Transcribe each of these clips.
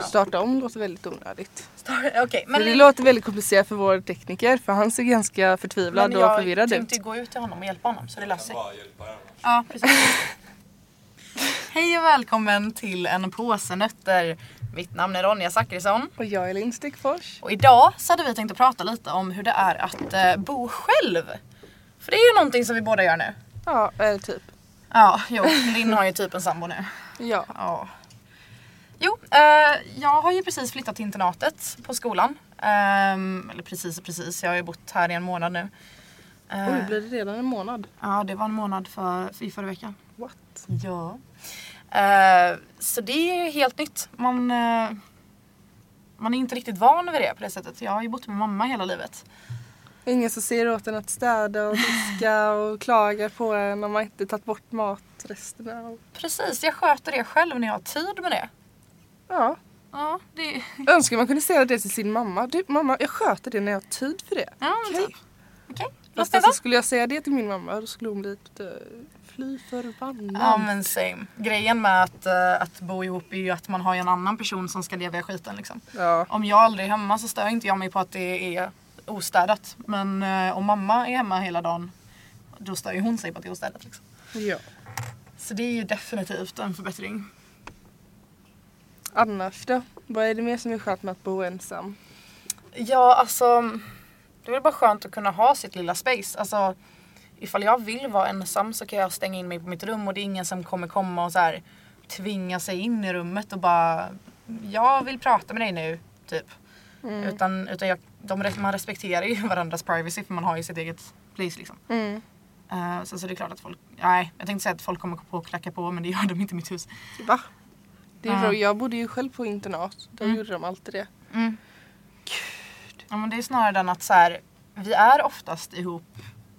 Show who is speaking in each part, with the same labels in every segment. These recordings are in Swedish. Speaker 1: Starta om låter väldigt onödigt.
Speaker 2: Okej,
Speaker 1: Men
Speaker 2: men,
Speaker 1: det låter väldigt komplicerat för vår tekniker för han ser ganska förtvivlad och förvirrad
Speaker 2: Jag
Speaker 1: ut.
Speaker 2: tänkte gå ut till honom och hjälpa honom så det löser sig.
Speaker 3: Bara hjälpa er annars.
Speaker 2: Ja, precis. Hej och välkommen till en påse nötter. Mitt namn är Ronja Zachrisson.
Speaker 1: Och jag är Linn typ Stickfors.
Speaker 2: Och idag så hade vi tänkt att prata lite om hur det är att eh, bo själv. För det är ju någonting som vi båda gör nu.
Speaker 1: Ja, eller typ.
Speaker 2: Ja, jo. Linn har ju typ en sambo nu.
Speaker 1: Ja.
Speaker 2: Ja. Jo, eh, jag har ju precis flyttat till internatet på skolan. Ehm, eller precis och precis, jag har ju bott här i en månad nu. Eh,
Speaker 1: Oj, blir det redan en månad?
Speaker 2: Ja, det var en månad för, i förra veckan.
Speaker 1: What?
Speaker 2: Ja. så det är ju helt nytt. Man, eh, man är inte riktigt van vid det på det sättet. Jag har ju bott med mamma hela livet.
Speaker 1: Ingen som ser åt en att städa och diska och klagar på en om man inte tagit bort matresterna. Och...
Speaker 2: Precis, jag sköter det själv när jag har tid med det.
Speaker 1: Ja.
Speaker 2: Ja, det...
Speaker 1: Önskar man kunde säga det till sin mamma. Du mamma, jag sköter det när jag har tid för det.
Speaker 2: Ja, men
Speaker 1: Okej.
Speaker 2: typ. Okej, låt
Speaker 1: Fast
Speaker 2: det
Speaker 1: alltså,
Speaker 2: vara.
Speaker 1: skulle jag säga det till min mamma då skulle hon bli ett eh, fly förbannad.
Speaker 2: Ja men same. Grejen med att, eh, att bo ihop är ju att man har ju en annan person som ska leva i skiten liksom.
Speaker 1: Ja.
Speaker 2: Om jag aldrig är hemma så stör inte jag mig på att det är ostädat. Men eh, om mamma är hemma hela dagen då stör ju hon sig på att det är ostädat liksom.
Speaker 1: ja.
Speaker 2: Så det är ju definitivt en förbättring.
Speaker 1: Annars då? Vad är det mer som är skönt med att bo ensam?
Speaker 2: Ja, alltså. Det är väl bara skönt att kunna ha sitt lilla space. Alltså, ifall jag vill vara ensam så kan jag stänga in mig på mitt rum och det är ingen som kommer komma och så här tvinga sig in i rummet och bara jag vill prata med dig nu, typ. Utan, utan jag, de, man respekterar ju varandras privacy för man har ju sitt eget place liksom.
Speaker 1: Mm.
Speaker 2: Eh, sen så är det klart att folk, nej jag tänkte säga att folk kommer på och knacka på men det gör de inte i mitt hus.
Speaker 1: Va? Det är
Speaker 2: Ja.
Speaker 1: bra. Jag bodde ju själv på internat. Där gjorde de alltid det.
Speaker 2: Mm. Ja, men det är snarare den att så här, vi är oftast ihop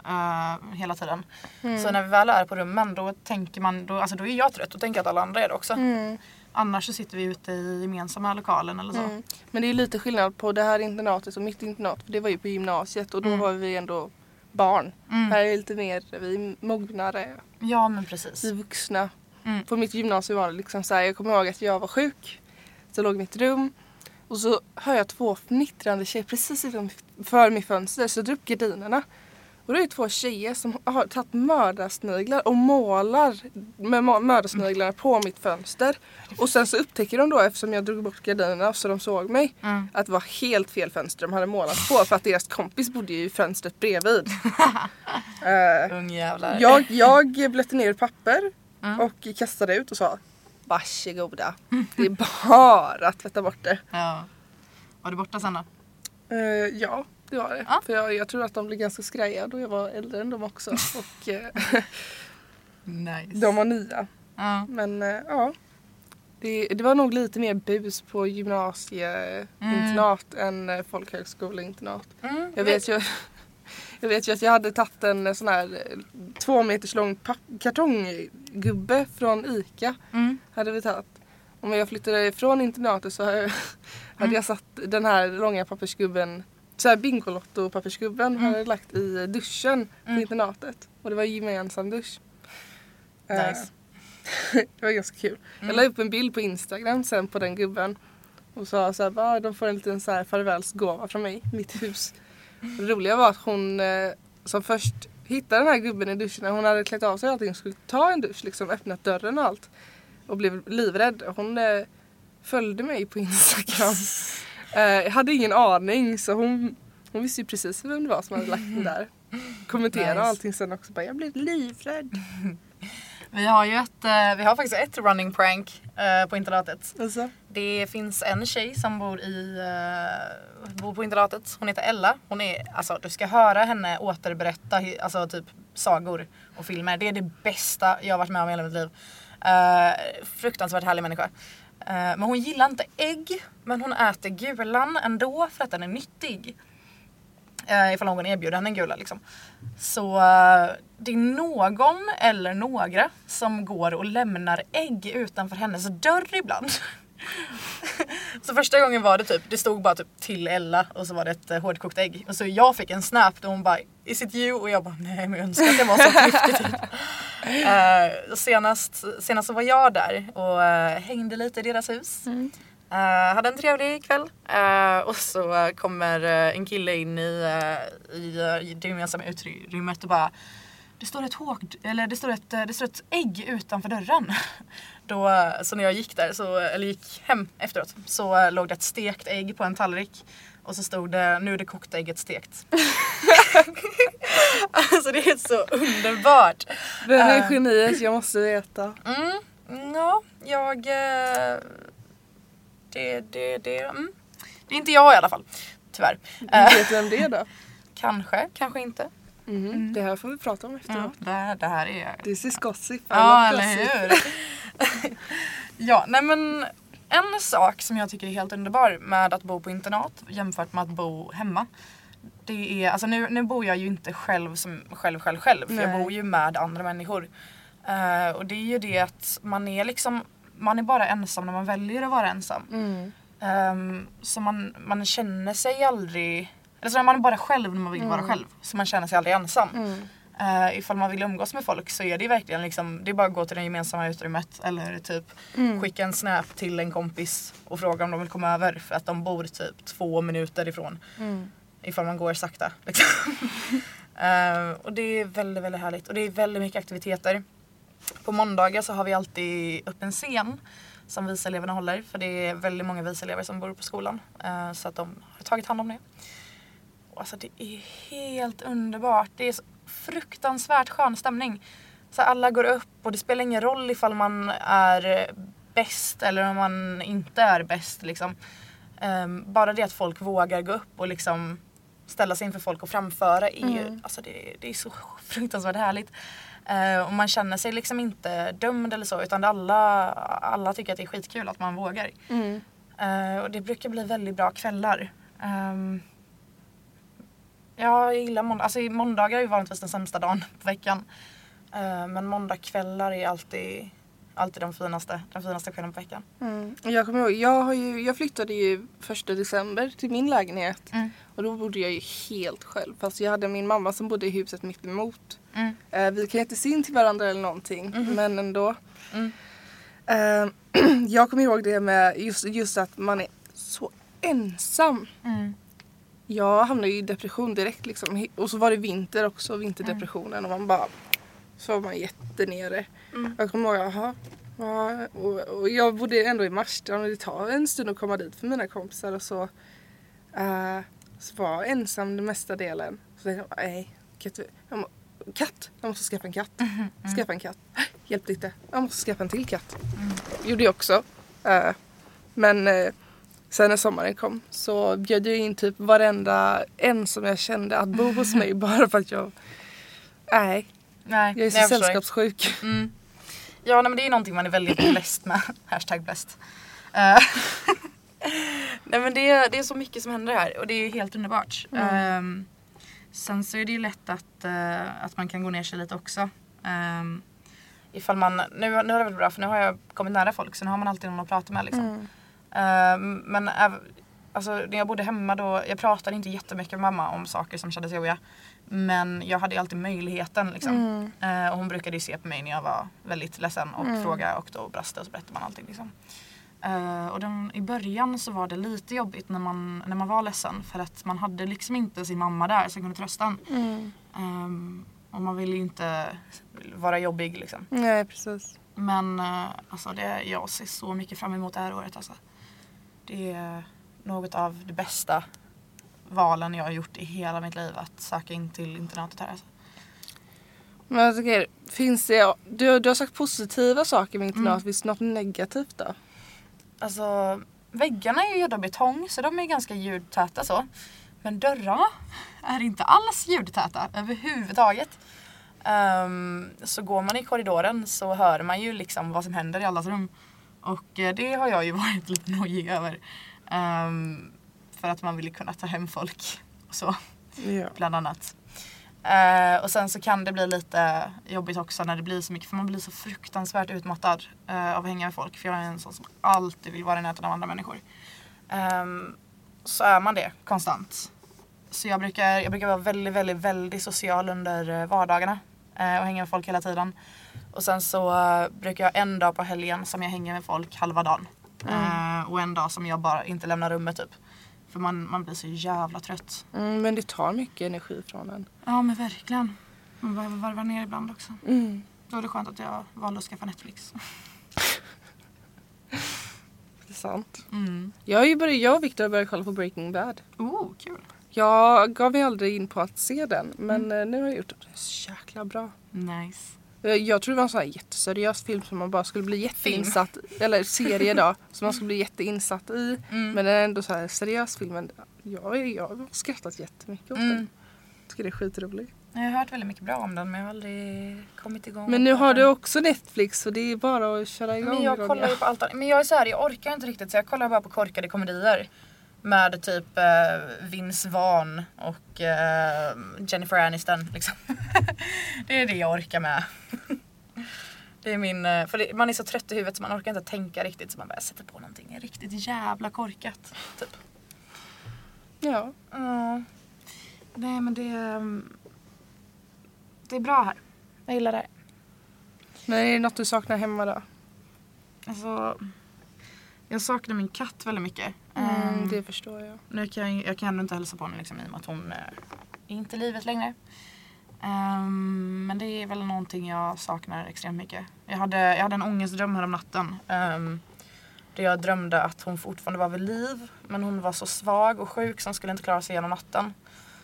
Speaker 2: eh, hela tiden.
Speaker 1: Mm.
Speaker 2: Så när vi väl är på rummen då tänker man, då, alltså då är jag trött och tänker jag att alla andra är det
Speaker 1: Mm.
Speaker 2: också. Annars så sitter vi ute i gemensamma lokalen eller så.
Speaker 1: Mm. Men det är lite skillnad på det här internatet och mitt internat. För det var ju på gymnasiet och då var vi ändå barn.
Speaker 2: Mm.
Speaker 1: Här är det lite mer, vi är mognare,
Speaker 2: Ja men
Speaker 1: vi
Speaker 2: precis.
Speaker 1: är vuxna.
Speaker 2: Mm.
Speaker 1: På mitt gymnasium var det liksom så här, jag kommer ihåg att jag var sjuk. Så jag låg i mitt rum. Och så hör jag två fnittrande tjejer precis utanför mitt fönster. Så jag drar upp gardinerna. Och det är två tjejer som har tagit mördarsniglar och målar med ma- mördarsniglarna på mitt fönster. Och sen så upptäcker de då, eftersom jag drog bort gardinerna så de såg mig,
Speaker 2: Mm.
Speaker 1: att det var helt fel fönster de hade målat på för att deras kompis bodde ju i fönstret bredvid. Eh,
Speaker 2: Ungjävlar.
Speaker 1: jag, jag blötte ner papper
Speaker 2: Mm.
Speaker 1: och kastade ut och sa Varsågoda, det är bara att tvätta bort det.
Speaker 2: Ja. Var du borta sen då?
Speaker 1: Eh, ja, det var det.
Speaker 2: Ja.
Speaker 1: För jag, jag tror att de blev ganska skraja då jag var äldre än dem också. Och eh,
Speaker 2: Nice.
Speaker 1: de var nya.
Speaker 2: Ja.
Speaker 1: Men eh, ja. Det, det var nog lite mer bus på gymnasieinternat än eh, folkhögskoleinternat.
Speaker 2: Mm.
Speaker 1: Jag vet ju, jag vet ju att jag hade tagit en eh, sån här eh, två meters lång papp- kartonggubbe från ICA.
Speaker 2: Mm.
Speaker 1: Hade vi tagit. Om jag flyttade från internatet så
Speaker 2: Mm.
Speaker 1: hade jag- hade jag satt den här långa pappersgubben, så här Bingolotto-pappersgubben, hade jag lagt i duschen på
Speaker 2: Mm.
Speaker 1: internatet. Och det var ju gemensam dusch. Eh,
Speaker 2: Nice.
Speaker 1: det var ganska kul.
Speaker 2: Mm.
Speaker 1: Jag la upp en bild på Instagram sen på den gubben. Och sa så här, bara, de får en liten så här farvälsgåva från mig, mitt hus. Det roliga var att hon eh, som först hittade den här gubben i duschen, när hon hade klätt av sig allting och skulle ta en dusch, liksom öppnat dörren och allt. Och blev livrädd. Hon eh, följde mig på Instagram. Eh, jag hade ingen aning så hon, hon visste ju precis vem det var som hade lagt den där. Kommenterade
Speaker 2: Nice.
Speaker 1: allting sen också. Bara, jag blev livrädd.
Speaker 2: Vi har ju ett, eh, vi har faktiskt ett running prank eh, på internatet.
Speaker 1: Alltså,
Speaker 2: Det finns en tjej som bor, i, eh, bor på internatet. Hon heter Ella. Hon är, alltså, du ska höra henne återberätta hi- alltså, typ, sagor och filmer. Det är det bästa jag har varit med om i hela mitt liv. Eh, fruktansvärt härlig människa. Eh, men hon gillar inte ägg. Men hon äter gulan ändå för att den är nyttig. Uh, ifall någon erbjuder henne en gula liksom. Så eh, det är någon eller några som går och lämnar ägg utanför hennes dörr ibland. Så första gången var det typ, det stod bara typ till Ella och så var det ett eh, hårdkokt ägg. Och så jag fick en snap där hon bara is it you? Och jag bara nej men jag önskar att jag var så klyftig typ. Eh, senast, senast så var jag där och eh, hängde lite i deras hus. Eh, hade en trevlig kväll Eh, och så eh, kommer eh, en kille in i, eh, i, eh, i det gemensamma utrymmet och bara det står ett, håk, eller det står ett, eh, det står ett ägg utanför dörren. Då, eh, så när jag gick där, så, eller gick hem efteråt, så eh, låg det ett stekt ägg på en tallrik. Och så stod det nu är det kokta ägget stekt. alltså det är så underbart.
Speaker 1: Det här
Speaker 2: Eh.
Speaker 1: är geniet, jag måste veta.
Speaker 2: Mm, ja, jag... eh, Det, det, det, mm. det är inte jag i alla fall. Tyvärr. Eh,
Speaker 1: Vet du vem det är då?
Speaker 2: kanske, kanske inte.
Speaker 1: Mhm, Det här får vi prata om efteråt.
Speaker 2: Mm. Det, här, det här är...
Speaker 1: This is gossip.
Speaker 2: Ja,
Speaker 1: I love
Speaker 2: eller
Speaker 1: gossip.
Speaker 2: hur? ja, nej men en sak som jag tycker är helt underbar med att bo på internat jämfört med att bo hemma. Det är, alltså nu, nu bor jag ju inte själv, som, själv, själv, själv. För jag
Speaker 1: Nej.
Speaker 2: bor ju med andra människor. Eh, och det är ju det att man är liksom, man är bara ensam när man väljer att vara ensam.
Speaker 1: Mm.
Speaker 2: Ehm, så man, man känner sig aldrig... Eller så man är bara själv när man vill vara själv. Så man känner sig aldrig ensam.
Speaker 1: Mm.
Speaker 2: Eh, ifall man vill umgås med folk så är det verkligen liksom, det är bara att gå till det gemensamma utrymmet eller typ
Speaker 1: Mm.
Speaker 2: skicka en snap till en kompis och fråga om de vill komma över för att de bor typ två minuter ifrån.
Speaker 1: Mm.
Speaker 2: Ifall man går sakta. Liksom. Eh, och det är väldigt, väldigt härligt. Och det är väldigt mycket aktiviteter. På måndagar så har vi alltid upp en scen som viseleverna håller. För det är väldigt många viselever som bor på skolan. eh, så att de har tagit hand om det. Och alltså det är helt underbart. Det är så fruktansvärt skön stämning. Så alla går upp och det spelar ingen roll ifall man är eh, bäst eller om man inte är bäst. Liksom. Ehm, bara det att folk vågar gå upp och liksom ställa sig inför folk och framföra är ju, alltså det, det är så fruktansvärt härligt. Eh, och man känner sig liksom inte dömd eller så utan alla, alla tycker att det är skitkul att man vågar.
Speaker 1: Mm.
Speaker 2: Eh, och det brukar bli väldigt bra kvällar. Ehm, ja, jag gillar måndag. Alltså, måndagar är ju vanligtvis den sämsta dagen på veckan. Eh, men måndagkvällar är alltid, alltid de finaste, den finaste kvällen på veckan.
Speaker 1: Mm. Jag kommer ihåg, jag, har ju, jag flyttade ju första december till min lägenhet
Speaker 2: Mm.
Speaker 1: och då bodde jag ju helt själv. Fast jag hade min mamma som bodde i huset mitt emot.
Speaker 2: Mm.
Speaker 1: Eh, vi kan inte se in till varandra eller någonting men ändå.
Speaker 2: Mm.
Speaker 1: Eh, jag kommer ihåg det med just, just att man är så ensam.
Speaker 2: Mm.
Speaker 1: Jag hamnade ju i depression direkt liksom. Och så var det vinter också, vinterdepressionen och man bara så var man jättenere.
Speaker 2: Mm.
Speaker 1: Jag kommer ihåg, jaha. Ja, och, och jag bodde ändå i Marstrand och det tar en stund att komma dit för mina kompisar och så. eh, så var jag ensam den mesta delen. Så tänkte jag, bara, nej. Katt, jag må, katt! Jag måste skaffa en katt. Skaffa en katt. Hjälpte inte. Jag måste skaffa en till katt. Gjorde jag också. Eh, men eh, sen när sommaren kom så bjöd jag in typ varenda en som jag kände att bo hos mig bara för att jag... Nej,
Speaker 2: Nej,
Speaker 1: jag är så
Speaker 2: nej, förstår.
Speaker 1: sällskapssjuk.
Speaker 2: Mm. Ja, nej, men det är någonting man är väldigt bläst med. Hashtag bläst. Eh, nej men det, det är så mycket som händer här och det är helt underbart.
Speaker 1: Mm.
Speaker 2: Ehm, sen så är det ju lätt att, eh, att man kan gå ner sig lite också. Um, ifall man, nu, nu är det väl bra för nu har jag kommit nära folk så nu har man alltid någon att prata med liksom. Ehm, men äv, alltså, när jag bodde hemma då, jag pratade inte jättemycket med mamma om saker som kändes jobbiga. Men jag hade ju alltid möjligheten liksom. Eh, och hon brukade ju se på mig när jag var väldigt ledsen och fråga och då brast det och så berättade man allting. Liksom. Eh, och den, i början så var det lite jobbigt när man, när man var ledsen för att man hade liksom inte sin mamma där som kunde trösta en. Ehm, och man ville ju inte vara jobbig liksom.
Speaker 1: Nej, precis.
Speaker 2: Men eh, alltså det, jag ser så mycket fram emot det här året alltså. Det är något av det bästa valen jag har gjort i hela mitt liv att söka in till internatet här alltså.
Speaker 1: Men jag tänker, finns det... Du, du har sagt positiva saker med internat, finns det något negativt då?
Speaker 2: Alltså, väggarna är ju gjorda av betong så de är ganska ljudtäta så. Men dörrarna är inte alls ljudtäta överhuvudtaget. Ehm, så går man i korridoren så hör man ju liksom vad som händer i allas rum. Och eh, det har jag ju varit lite nojig över. Ehm, för att man ville kunna ta hem folk och så
Speaker 1: Ja.
Speaker 2: bland annat. Eh, och sen så kan det bli lite jobbigt också när det blir så mycket för man blir så fruktansvärt utmattad eh, av att hänga med folk för jag är en sån som alltid vill vara i närheten av andra människor. Ehm, så är man det konstant. Så jag brukar, jag brukar vara väldigt, väldigt, väldigt social under eh, vardagarna eh, och hänga med folk hela tiden. Och sen så eh, brukar jag ha en dag på helgen som jag hänger med folk halva dagen. Eh, och en dag som jag bara inte lämnar rummet typ. För man, man blir så jävla trött.
Speaker 1: Mm, men det tar mycket energi från en.
Speaker 2: Ja men verkligen. Man behöver varva ner ibland också. Då är det skönt att jag valde att skaffa Netflix.
Speaker 1: Det är sant.
Speaker 2: Mm.
Speaker 1: Jag, har ju börjat, jag och Victor har börjat kolla på Breaking Bad.
Speaker 2: Oh, kul.
Speaker 1: Jag gav mig aldrig in på att se den men eh, nu har jag gjort det. Det är så jäkla bra.
Speaker 2: Nice.
Speaker 1: Eh, Jag tror det var en sån här jätteseriös film som man bara skulle bli jätteinsatt i. Eller serie då. som man skulle bli jätteinsatt i.
Speaker 2: Mm.
Speaker 1: Men den är ändå så här seriös film. Men jag, är- jag har skrattat jättemycket åt
Speaker 2: Mm.
Speaker 1: den. Tycker det är skitrolig.
Speaker 2: Jag har hört väldigt mycket bra om den men jag har aldrig kommit igång.
Speaker 1: Men nu har du
Speaker 2: den.
Speaker 1: också Netflix så det är bara att köra igång.
Speaker 2: Men jag
Speaker 1: Ronja.
Speaker 2: kollar ju på allt annat. Men jag är så här, jag orkar inte riktigt så jag kollar bara på korkade komedier. Med typ eh, Vince Vaughn och eh, Jennifer Aniston liksom. det är det jag orkar med. det är min, eh, för det, man är så trött i huvudet så man orkar inte tänka riktigt så man bara sätter på någonting riktigt jävla korkat. Typ.
Speaker 1: Ja.
Speaker 2: Ja. Nej men det, ehm, det är bra här. Jag gillar det här.
Speaker 1: Men är det något du saknar hemma då?
Speaker 2: Alltså, jag saknar min katt väldigt mycket. Ehm,
Speaker 1: Mm, det förstår jag.
Speaker 2: Nu kan, jag kan ändå inte hälsa på henne liksom, i och med att hon eh, är inte i livet längre. Ehm, men det är väl någonting jag saknar extremt mycket. Jag hade, jag hade en ångestdröm här om natten. Um, där jag drömde att hon fortfarande var vid liv men hon var så svag och sjuk så hon skulle inte klara sig igenom natten.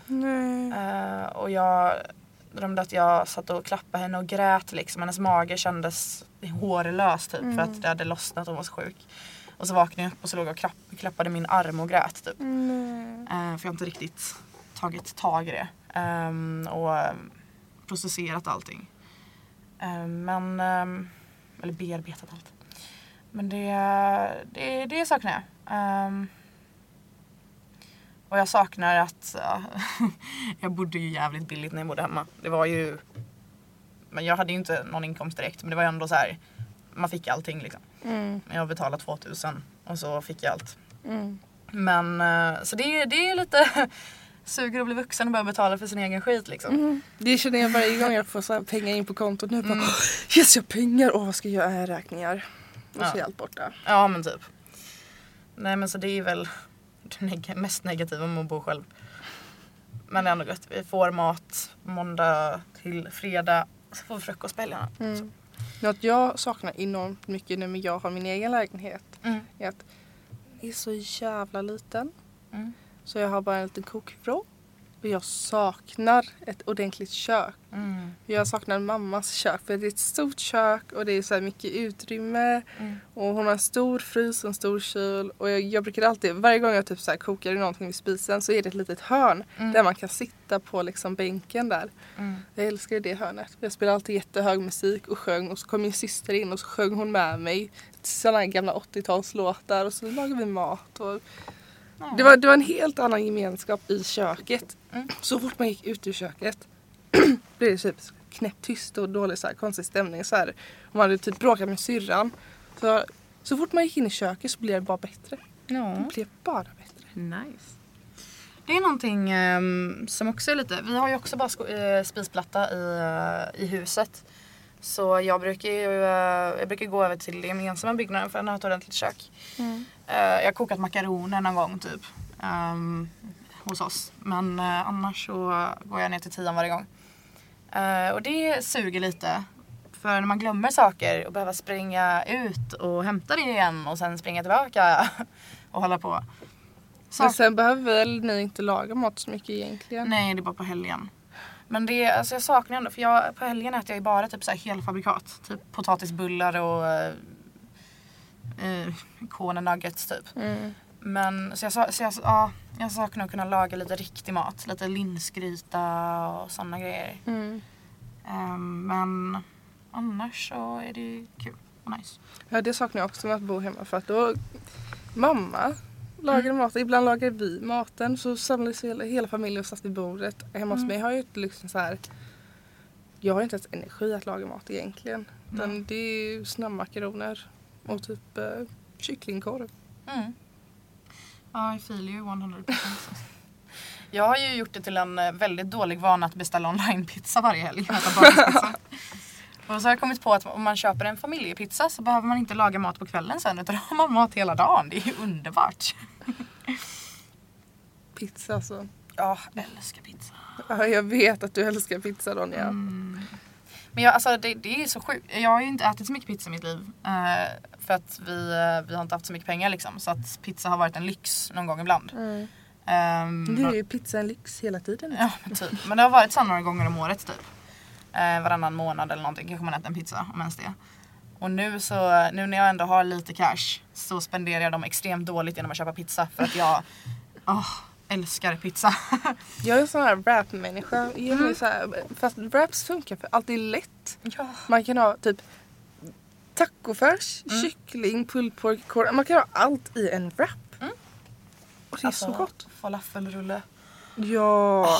Speaker 1: Nej.
Speaker 2: Eh, och jag drömde att jag satt och klappade henne och grät liksom. Hennes mage kändes hårlös typ för att det hade lossnat och hon var så sjuk. Och så vaknade jag upp och så låg jag och klapp, klappade min arm och grät typ.
Speaker 1: Nej.
Speaker 2: Eh, för jag har inte riktigt tagit tag i det. ehm, och ehm, processerat allting. Ehm, men, ehm, eller bearbetat allt. Men det, det, det saknar jag. Ehm, och jag saknar att ja, jag bodde ju jävligt billigt när jag bodde hemma. Det var ju, men jag hade ju inte någon inkomst direkt men det var ju ändå så här, man fick allting liksom.
Speaker 1: Mm.
Speaker 2: Men Jag betalade 2000 och så fick jag allt.
Speaker 1: Mm.
Speaker 2: Men eh, så det, är- det är lite suger att bli vuxen och börja betala för sin egen skit liksom.
Speaker 1: Mm. Det känner jag varje gång jag får så här pengar in på kontot nu. Bara,
Speaker 2: Mm.
Speaker 1: yes jag har pengar, åh vad ska jag göra? Äh, Räkningar. Och så
Speaker 2: Ja.
Speaker 1: är allt borta.
Speaker 2: Ja men typ. Nej men så det är väl det neg- mest negativa med att bo själv. Men det är ändå gött. Vi får mat måndag till fredag. Så får vi frukost på helgerna.
Speaker 1: Mm. Något jag saknar enormt mycket nu när jag har min egen lägenhet
Speaker 2: Mm.
Speaker 1: är att den är så jävla liten.
Speaker 2: Mm.
Speaker 1: Så jag har bara en liten kokvrå. Och jag saknar ett ordentligt kök.
Speaker 2: Mm.
Speaker 1: Jag saknar mammas kök för det är ett stort kök och det är så här mycket utrymme.
Speaker 2: Mm.
Speaker 1: Och hon har en stor frys och en stor kyl. Och jag, jag brukar alltid, varje gång jag typ så här kokar i någonting vid spisen så är det ett litet hörn
Speaker 2: Mm.
Speaker 1: där man kan sitta på liksom bänken där. Jag älskar ju det hörnet. Jag spelade alltid jättehög musik och sjöng och så kom min syster in och så sjöng hon med mig sådana här gamla 80-talslåtar och så lagade vi mat. Och det, var, det var en helt annan gemenskap i köket.
Speaker 2: Mm.
Speaker 1: Så fort man gick ut ur köket blev det typ knäpptyst och dålig så här, konstig stämning. Så här. Och man hade typ bråkat med syrran. Så, så fort man gick in i köket så blev det bara bättre. Det
Speaker 2: Ja.
Speaker 1: blev bara bättre.
Speaker 2: Nice. Det är någonting ehm, som också är lite, vi har ju också bara sko- eh, spisplatta i, eh, i huset. Så jag brukar ju eh, jag brukar gå över till den gemensamma byggnaden för den har ett ordentligt kök. Eh, jag har kokat makaroner någon gång typ. ehm, hos oss. Men eh, annars så går jag ner till tian varje gång. Eh, och det suger lite. För när man glömmer saker och behöver springa ut och hämta det igen och sen springa tillbaka och hålla på.
Speaker 1: Men
Speaker 2: Sak-
Speaker 1: sen behöver väl ni inte laga mat så mycket egentligen.
Speaker 2: Nej, det är bara på helgen. Men det, alltså jag saknar ändå, för jag, på helgen äter jag ju bara typ så här helfabrikat. Typ potatisbullar och eh, eh, corn nuggets typ.
Speaker 1: Mm.
Speaker 2: Men så jag, sa- så jag, ja, jag saknar att kunna laga lite riktig mat. Lite linsgryta och sådana grejer.
Speaker 1: Mm.
Speaker 2: Ehm, men annars så är det ju kul och nice.
Speaker 1: Ja det saknar jag också med att bo hemma för att då mamma lagar mat. Ibland lagar vi maten så samlades hela, hela familjen och satt vid bordet. Hemma hos mig har jag ju inte liksom så här. Jag har inte ens energi att laga mat egentligen. Utan det är ju snabbmakaroner och typ eh, kycklingkorv.
Speaker 2: Mm. Ja, I feel you 100%. jag har ju gjort det till en eh, väldigt dålig vana att beställa online-pizza varje helg. äta bakpizza. Och så har jag kommit på att om man köper en familjepizza så behöver man inte laga mat på kvällen sen utan då har man mat hela dagen. Det är ju underbart.
Speaker 1: Pizza alltså.
Speaker 2: Ja, älskar pizza.
Speaker 1: Ja, jag vet att du älskar pizza Ronja.
Speaker 2: Mm. Men jag, alltså, det, det är så sjukt. Jag har ju inte ätit så mycket pizza i mitt liv. eh, för att vi, eh, vi har inte haft så mycket pengar liksom. Så att pizza har varit en lyx någon gång ibland.
Speaker 1: Mm.
Speaker 2: Ehm,
Speaker 1: Nu är ju pizza en lyx hela tiden.
Speaker 2: Ja, men typ. Men det har varit så här några gånger om året typ. Eh, varannan månad eller någonting kanske man äter en pizza, om ens det. Och nu så, nu när jag ändå har lite cash så spenderar jag dem extremt dåligt genom att köpa pizza för att jag åh, älskar pizza.
Speaker 1: Jag är en sån här wrap-människa. Ge mig så här- Fast wraps funkar för allt är lätt.
Speaker 2: ja.
Speaker 1: Man kan ha typ tacofärs,
Speaker 2: Mm.
Speaker 1: kyckling, pulled pork, korv. Man kan ha allt i en wrap.
Speaker 2: Mm.
Speaker 1: Och det är
Speaker 2: alltså,
Speaker 1: så gott.
Speaker 2: Falafelrulle.
Speaker 1: Ja.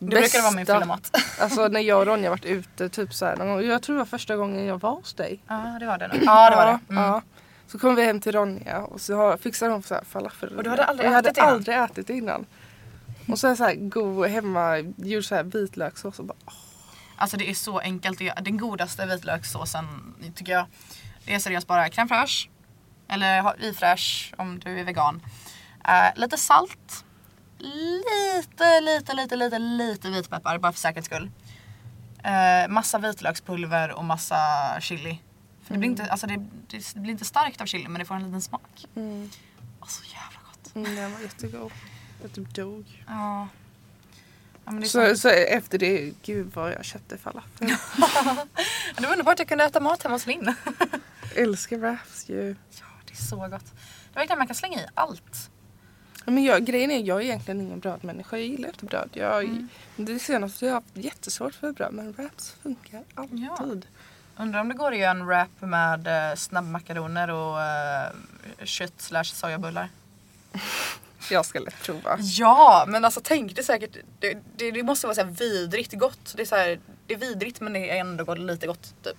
Speaker 2: Det brukar vara min
Speaker 1: Bästa.
Speaker 2: fyllemat.
Speaker 1: Alltså när jag och Ronja varit ute typ så här någon gång. Jag tror det var första gången jag var hos dig.
Speaker 2: Ja, det var det nog. Ja, det var det. Mm.
Speaker 1: ja. Så kom vi hem till Ronja och så har- fixade hon så här falafelrulle.
Speaker 2: Och du hade aldrig
Speaker 1: jag hade
Speaker 2: ätit innan?
Speaker 1: aldrig ätit innan. Och så är så här god hemmagjord så här vitlökssås och bara
Speaker 2: Alltså det är så enkelt. att göra. Den godaste vitlökssåsen tycker jag. Det är seriöst bara crème fraîche. Eller ha- i fraîche om du är vegan. Eh, lite salt. Lite, lite, lite, lite, lite vitpeppar bara för säkerhets skull. Eh, massa vitlökspulver och massa chili. För det, blir inte, alltså det, det blir inte starkt av chili men det får en liten smak.
Speaker 1: Mm.
Speaker 2: Åh, så jävla gott.
Speaker 1: Mm, den var jättegod. Jag typ dog.
Speaker 2: Ja. Ja, men det, är
Speaker 1: Så,
Speaker 2: så...
Speaker 1: så efter det, gud vad jag köpte falafel.
Speaker 2: det var underbart att jag kunde äta mat hemma hos Linn.
Speaker 1: Älskar wraps ju.
Speaker 2: Ja, det är så gott. Det verkar man kan slänga i allt.
Speaker 1: Men jag, grejen är, jag är egentligen ingen brödmänniska. Jag gillar inte bröd. Jag,
Speaker 2: Mm.
Speaker 1: Det senaste jag har haft jättesvårt för bröd men wraps funkar alltid.
Speaker 2: Undrar om det går att göra en wrap med eh, snabbmakaroner och eh, kött slash sojabullar.
Speaker 1: Jag ska lätt prova.
Speaker 2: Mm. Ja, men alltså tänk det säkert. Det, det, det måste vara så här vidrigt gott. Det är, så här, det är vidrigt men det är ändå gott, lite gott typ.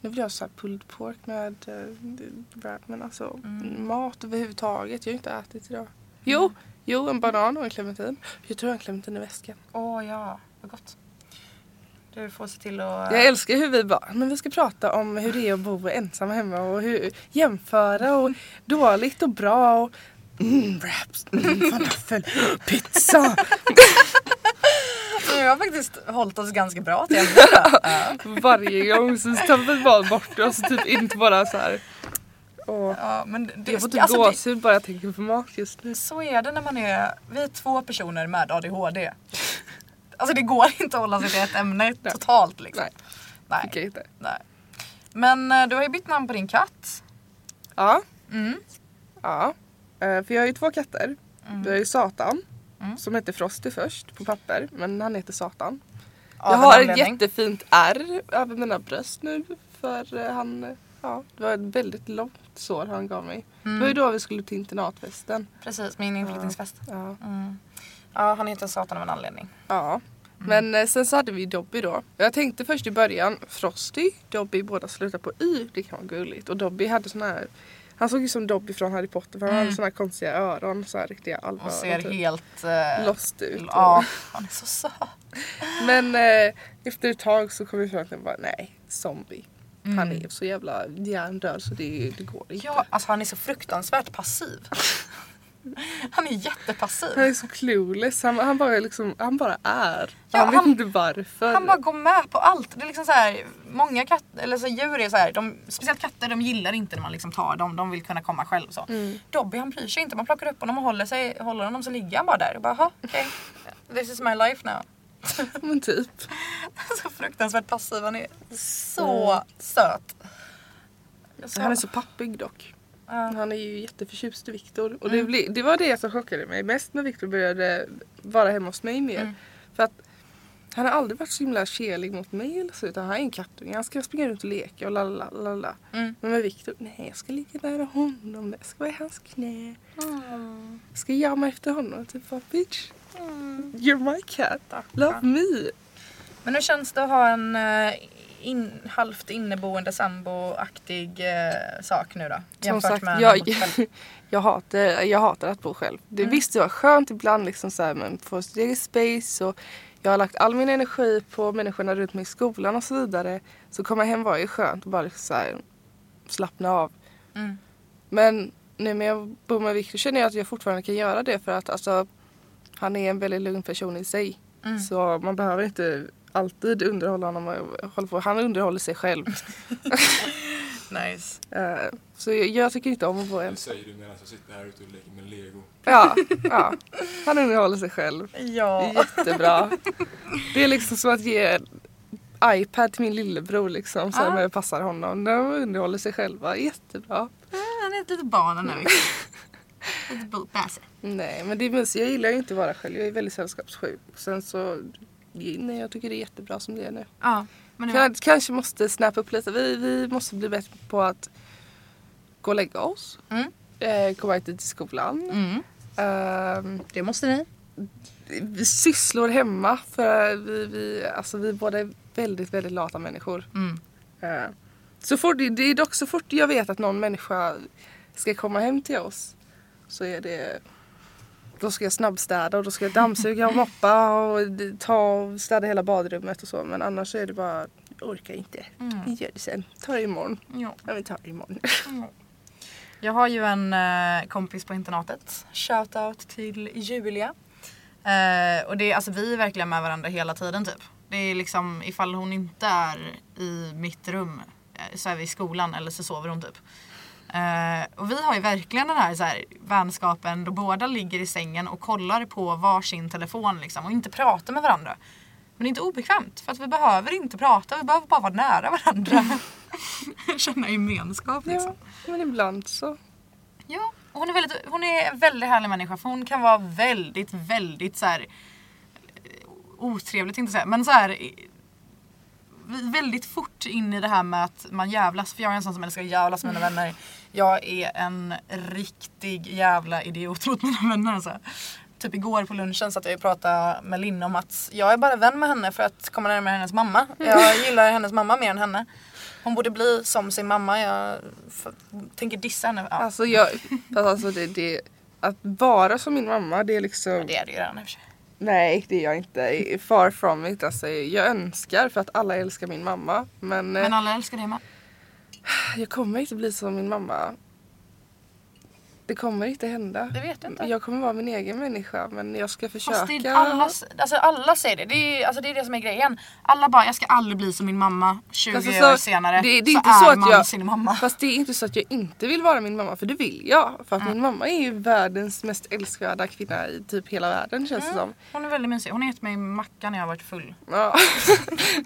Speaker 1: Nu vill jag ha så här pulled pork med eh, wrap men alltså
Speaker 2: Mm.
Speaker 1: mat överhuvudtaget. Jag har inte ätit idag. Jo, jo en banan och en clementin. Jag tror jag har en clementin i väskan.
Speaker 2: Åh ja, vad gott. Du får se till att... eh,
Speaker 1: Jag älskar hur vi bara, men vi ska prata om hur det är att bo ensam hemma och hur, jämföra och dåligt och bra och mm, wraps, mm, falafel, pizza.
Speaker 2: Vi har faktiskt hållit oss ganska bra till ämnena. Ja.
Speaker 1: Varje gång så tar vi bara bort det och så typ inte bara så här. Och
Speaker 2: ja, men det,
Speaker 1: jag får typ
Speaker 2: alltså, det-
Speaker 1: gåshud bara jag tänker på mat just nu.
Speaker 2: Så är det när man är, vi är två personer med ADHD. Alltså det går inte att hålla sig till ett ämne
Speaker 1: Nej.
Speaker 2: totalt liksom.
Speaker 1: Nej.
Speaker 2: Nej.
Speaker 1: Tycker jag inte.
Speaker 2: Nej. Men eh, du har ju bytt namn på din katt.
Speaker 1: Ja,
Speaker 2: Mm.
Speaker 1: ja. Eh, För jag har ju två katter. Vi har ju Satan
Speaker 2: Mm.
Speaker 1: som heter Frosty först på papper men han heter Satan.
Speaker 2: Av
Speaker 1: jag
Speaker 2: en
Speaker 1: har ett
Speaker 2: anledning.
Speaker 1: jättefint ärr över mina bröst nu för eh, han, eh, ja det var ett väldigt långt sår han gav mig. Det var ju
Speaker 2: Mm.
Speaker 1: då vi skulle till internatfesten.
Speaker 2: Precis, min inflyttningsfest.
Speaker 1: Ja.
Speaker 2: Mm. Ja, han heter Satan av en anledning.
Speaker 1: ja. Men eh, sen så hade vi Dobby då. Jag tänkte först i början Frosty, Dobby båda slutar på Y, det kan vara gulligt. Och Dobby hade sån här, han såg ju som Dobby från Harry Potter för han hade
Speaker 2: Mm.
Speaker 1: såna här konstiga öron, så här riktiga
Speaker 2: Och
Speaker 1: alvöron.
Speaker 2: ser
Speaker 1: typ.
Speaker 2: helt... eh,
Speaker 1: Lost ut.
Speaker 2: Ja, han är så söt.
Speaker 1: Men eh, efter ett tag så kom vi fram till att bara, nej, zombie.
Speaker 2: Mm.
Speaker 1: Han är så jävla hjärndöd så det, det går inte.
Speaker 2: Ja, alltså han är så fruktansvärt passiv. Han är
Speaker 1: Han
Speaker 2: jättepassiv.
Speaker 1: är så clueless. Han, han, bara, liksom, han bara är.
Speaker 2: Ja,
Speaker 1: han vet
Speaker 2: han-
Speaker 1: inte varför.
Speaker 2: Han bara går med på allt. Det är liksom så här, många katt, eller så djur är så här, de, speciellt katter de gillar inte när man liksom tar dem, de vill kunna komma själv. Så.
Speaker 1: Mm.
Speaker 2: Dobby han bryr sig inte, man plockar upp honom och håller, sig, håller honom så ligger han bara där. Och bara, "Aha, okej. This is my life now.
Speaker 1: Men typ.
Speaker 2: Så fruktansvärt passiv, han är så söt. Mm. Jag sa-
Speaker 1: Han är så pappig dock.
Speaker 2: Ja.
Speaker 1: Han är ju jätteförtjust i Viktor.
Speaker 2: Mm.
Speaker 1: Och det, blir- det var det som chockade mig mest när Viktor började vara hemma hos mig mer.
Speaker 2: Mm.
Speaker 1: För att han har aldrig varit så himla kelig mot mig eller så utan han är en kattunge. Han ska springa runt och leka och la la la la.
Speaker 2: Mm.
Speaker 1: Men med Viktor, nej jag ska ligga nära honom, jag ska vara i hans knä.
Speaker 2: Mm.
Speaker 1: Jag ska jamma efter honom. Typ bara bitch, you're my cat, love me.
Speaker 2: Men hur känns det att ha en eh, in, halvt inneboende samboaktig eh, sak nu då?
Speaker 1: Som sagt,
Speaker 2: när man
Speaker 1: jag,
Speaker 2: bor själv? Mm.
Speaker 1: jag, hatar, jag hatar att bo själv. Det, Visst, det var skönt ibland liksom så här, men få sin egen space och jag har lagt all min energi på människorna runt mig i skolan och så vidare. Så komma hem var ju skönt och bara liksom så här, slappna av.
Speaker 2: Mm.
Speaker 1: Men nu när jag bor med Victor känner jag att jag fortfarande kan göra det för att alltså, han är en väldigt lugn person i sig.
Speaker 2: Mm.
Speaker 1: Så man behöver inte alltid underhålla honom. Och hålla på. Han underhåller sig själv.
Speaker 2: Nice.
Speaker 1: Eh, så jag, jag tycker inte om att vara
Speaker 3: Det
Speaker 1: ensam.
Speaker 3: säger du medan jag sitter här ute och leker med lego.
Speaker 1: Ja, ja, han underhåller sig själv. Det är
Speaker 2: Ja.
Speaker 1: jättebra. Det är liksom som att ge iPad till min lillebror liksom som
Speaker 2: Ah.
Speaker 1: ah. passar honom. De underhåller sig själva jättebra.
Speaker 2: Eh, Han är ett litet barn den här veckan. Litet bo- bäse.
Speaker 1: Nej men det är mysigt. Jag gillar ju inte att vara själv. Jag är väldigt sällskapssjuk. Sen så, nej jag tycker det är jättebra som det är nu.
Speaker 2: Ja. Men
Speaker 1: Kan, kanske måste snappa upp lite. Vi, vi måste bli bättre på att gå och lägga oss.
Speaker 2: Mm.
Speaker 1: Eh, komma hit till skolan.
Speaker 2: Mm.
Speaker 1: Ehm,
Speaker 2: Det måste ni.
Speaker 1: vi sysslor hemma för vi, vi, alltså vi båda är väldigt, väldigt lata människor.
Speaker 2: Mm.
Speaker 1: Eh, Så fort, det är dock så fort jag vet att någon människa ska komma hem till oss så är det då ska jag snabbstäda och då ska jag dammsuga och moppa och ta och städa hela badrummet och så men annars är det bara jag orkar inte. Vi
Speaker 2: Mm.
Speaker 1: gör det sen. Ta det imorgon.
Speaker 2: Ja.
Speaker 1: Ja vi tar det imorgon.
Speaker 2: Jag har ju en eh, kompis på internatet. Shoutout till Julia. Eh, och det, är- alltså, vi är verkligen med varandra hela tiden typ. Det är liksom ifall hon inte är i mitt rum eh, så är vi i skolan eller så sover hon typ. Eh, och vi har ju verkligen den här, så här vänskapen då båda ligger i sängen och kollar på varsin telefon liksom och inte pratar med varandra. Men det är inte obekvämt för att vi behöver inte prata, vi behöver bara vara nära varandra. Känna gemenskap liksom.
Speaker 1: Ja, men ibland så.
Speaker 2: Ja, och hon är, väldigt, hon är en väldigt härlig människa för hon kan vara väldigt, väldigt så här eh, otrevligt inte säga, men så här eh, väldigt fort in i det här med att man jävlas för jag är en sån som älskar att jävlas med mina vänner. Jag är en riktig jävla idiot mot mina vänner alltså. Typ igår på lunchen satt jag och pratade med Linn om att jag är bara vän med henne för att komma närmare hennes mamma. Jag gillar hennes mamma mer än henne. Hon borde bli som sin mamma. Jag f- tänker dissa henne. Ja.
Speaker 1: Alltså jag, fast alltså det, det, att vara som min mamma det är liksom
Speaker 2: Det är det ju redan i och för sig.
Speaker 1: Nej, det är jag inte. Far from it. Alltså, jag önskar för att alla älskar min mamma. Men,
Speaker 2: Men
Speaker 1: eh,
Speaker 2: alla älskar det med.
Speaker 1: jag kommer inte bli som min mamma. Det kommer inte hända.
Speaker 2: Det vet jag inte.
Speaker 1: Jag kommer vara min egen människa men jag ska försöka.
Speaker 2: Fast det är alla, alltså alla säger det. Det är, ju- alltså det är det som är grejen. Alla bara, jag ska aldrig bli som min mamma 20
Speaker 1: Alltså,
Speaker 2: år
Speaker 1: så-
Speaker 2: senare.
Speaker 1: det- det är
Speaker 2: så
Speaker 1: inte
Speaker 2: är
Speaker 1: så att
Speaker 2: man
Speaker 1: jag-
Speaker 2: sin mamma.
Speaker 1: Fast det är inte så att jag inte vill vara min mamma för det vill jag. För att
Speaker 2: Mm.
Speaker 1: min mamma är ju världens mest älskvärda kvinna i typ hela världen känns det som.
Speaker 2: Hon är väldigt mysig. Hon har gett mig macka när jag har varit full.
Speaker 1: Ja.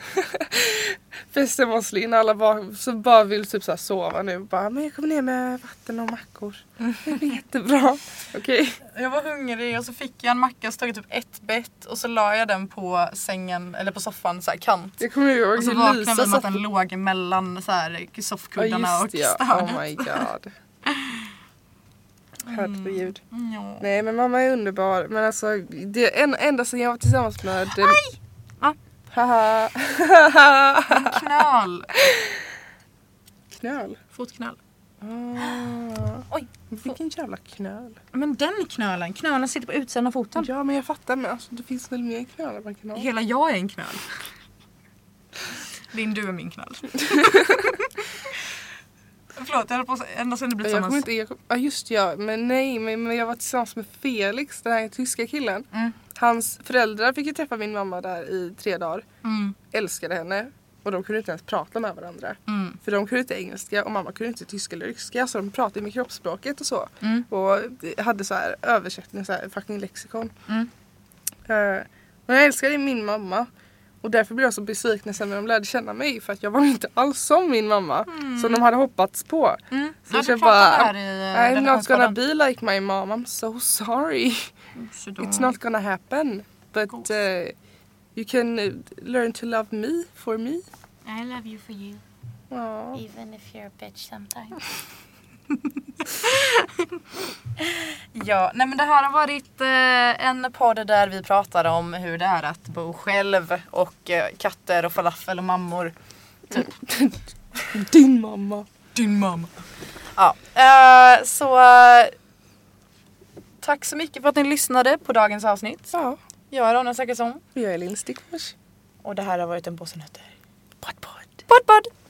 Speaker 1: Festen var slin alla bara, så bara vill typ så här sova nu. Bara, men jag kommer ner med vatten och mackor. Det blir jättebra. Okej.
Speaker 2: Jag var hungrig och så fick jag en macka och så tog jag typ ett bett och så la jag den på sängen eller på soffan så här kant.
Speaker 1: Jag kommer ihåg
Speaker 2: Och så
Speaker 1: hur
Speaker 2: vaknade
Speaker 1: Lisa
Speaker 2: vi med
Speaker 1: satt...
Speaker 2: att den låg mellan så här
Speaker 1: Ja
Speaker 2: soffkuddarna
Speaker 1: just
Speaker 2: och
Speaker 1: det, ja.
Speaker 2: stödet.
Speaker 1: Oh my god.
Speaker 2: Mm.
Speaker 1: Herregud.
Speaker 2: Ja.
Speaker 1: Nej men mamma är underbar. Men alltså det är en, ända sedan jag var tillsammans med... Aj!
Speaker 2: Va?
Speaker 1: Haha.
Speaker 2: Knöl.
Speaker 1: knöl.
Speaker 2: Fotknöl.
Speaker 1: Ah.
Speaker 2: Oj.
Speaker 1: Vilken jävla knöl.
Speaker 2: Men den knölen, knölen sitter på utsidan av foten.
Speaker 1: Ja men jag fattar men alltså det finns väl mer knölar man kan ha.
Speaker 2: Hela jag är en knöl. Din du är min knöl. Förlåt, jag höll på att säga- ända sedan du blev
Speaker 1: Jag
Speaker 2: tillsammans.
Speaker 1: kommer inte, jag kom, ja just det, ja, men nej men, men jag var tillsammans med Felix, den här tyska killen.
Speaker 2: Mm.
Speaker 1: Hans föräldrar fick ju träffa min mamma där i tre dagar.
Speaker 2: Mm,
Speaker 1: Älskade henne och de kunde inte ens prata med varandra.
Speaker 2: mm,
Speaker 1: För de kunde inte engelska och mamma kunde inte tyska eller ryska så de pratade med kroppsspråket och så.
Speaker 2: mm,
Speaker 1: Och hade så här översättning, så här fucking lexikon.
Speaker 2: mm.
Speaker 1: Eh, men jag älskade min mamma. Och därför blev jag så besviken sen när de lärde känna mig för att jag var inte alls som min mamma. Som de hade hoppats på.
Speaker 2: mm.
Speaker 1: Så
Speaker 2: Ja,
Speaker 1: jag
Speaker 2: du
Speaker 1: bara,
Speaker 2: pratade där i
Speaker 1: I'm
Speaker 2: eh,
Speaker 1: not gonna
Speaker 2: relationspodden.
Speaker 1: be like my mom, I'm so sorry.
Speaker 2: Så då-
Speaker 1: It's not gonna happen. But uh, you can uh, learn to love me for me.
Speaker 4: I love you for you,
Speaker 1: Ja.
Speaker 4: even if you're a bitch sometimes.
Speaker 2: Ja, nej men det här har varit eh, en podd där vi pratar om hur det är att bo själv och eh, katter och falafel och mammor.
Speaker 1: Din mamma.
Speaker 2: Din mamma. Ja, eh, så eh, tack så mycket för att ni lyssnade på dagens avsnitt.
Speaker 1: Ja.
Speaker 2: Jag är Ronja Zachrisson
Speaker 1: Jag är Linn Stickfors.
Speaker 2: och det här har varit en påse nötter.
Speaker 1: Podd, podd.
Speaker 2: Podd podd!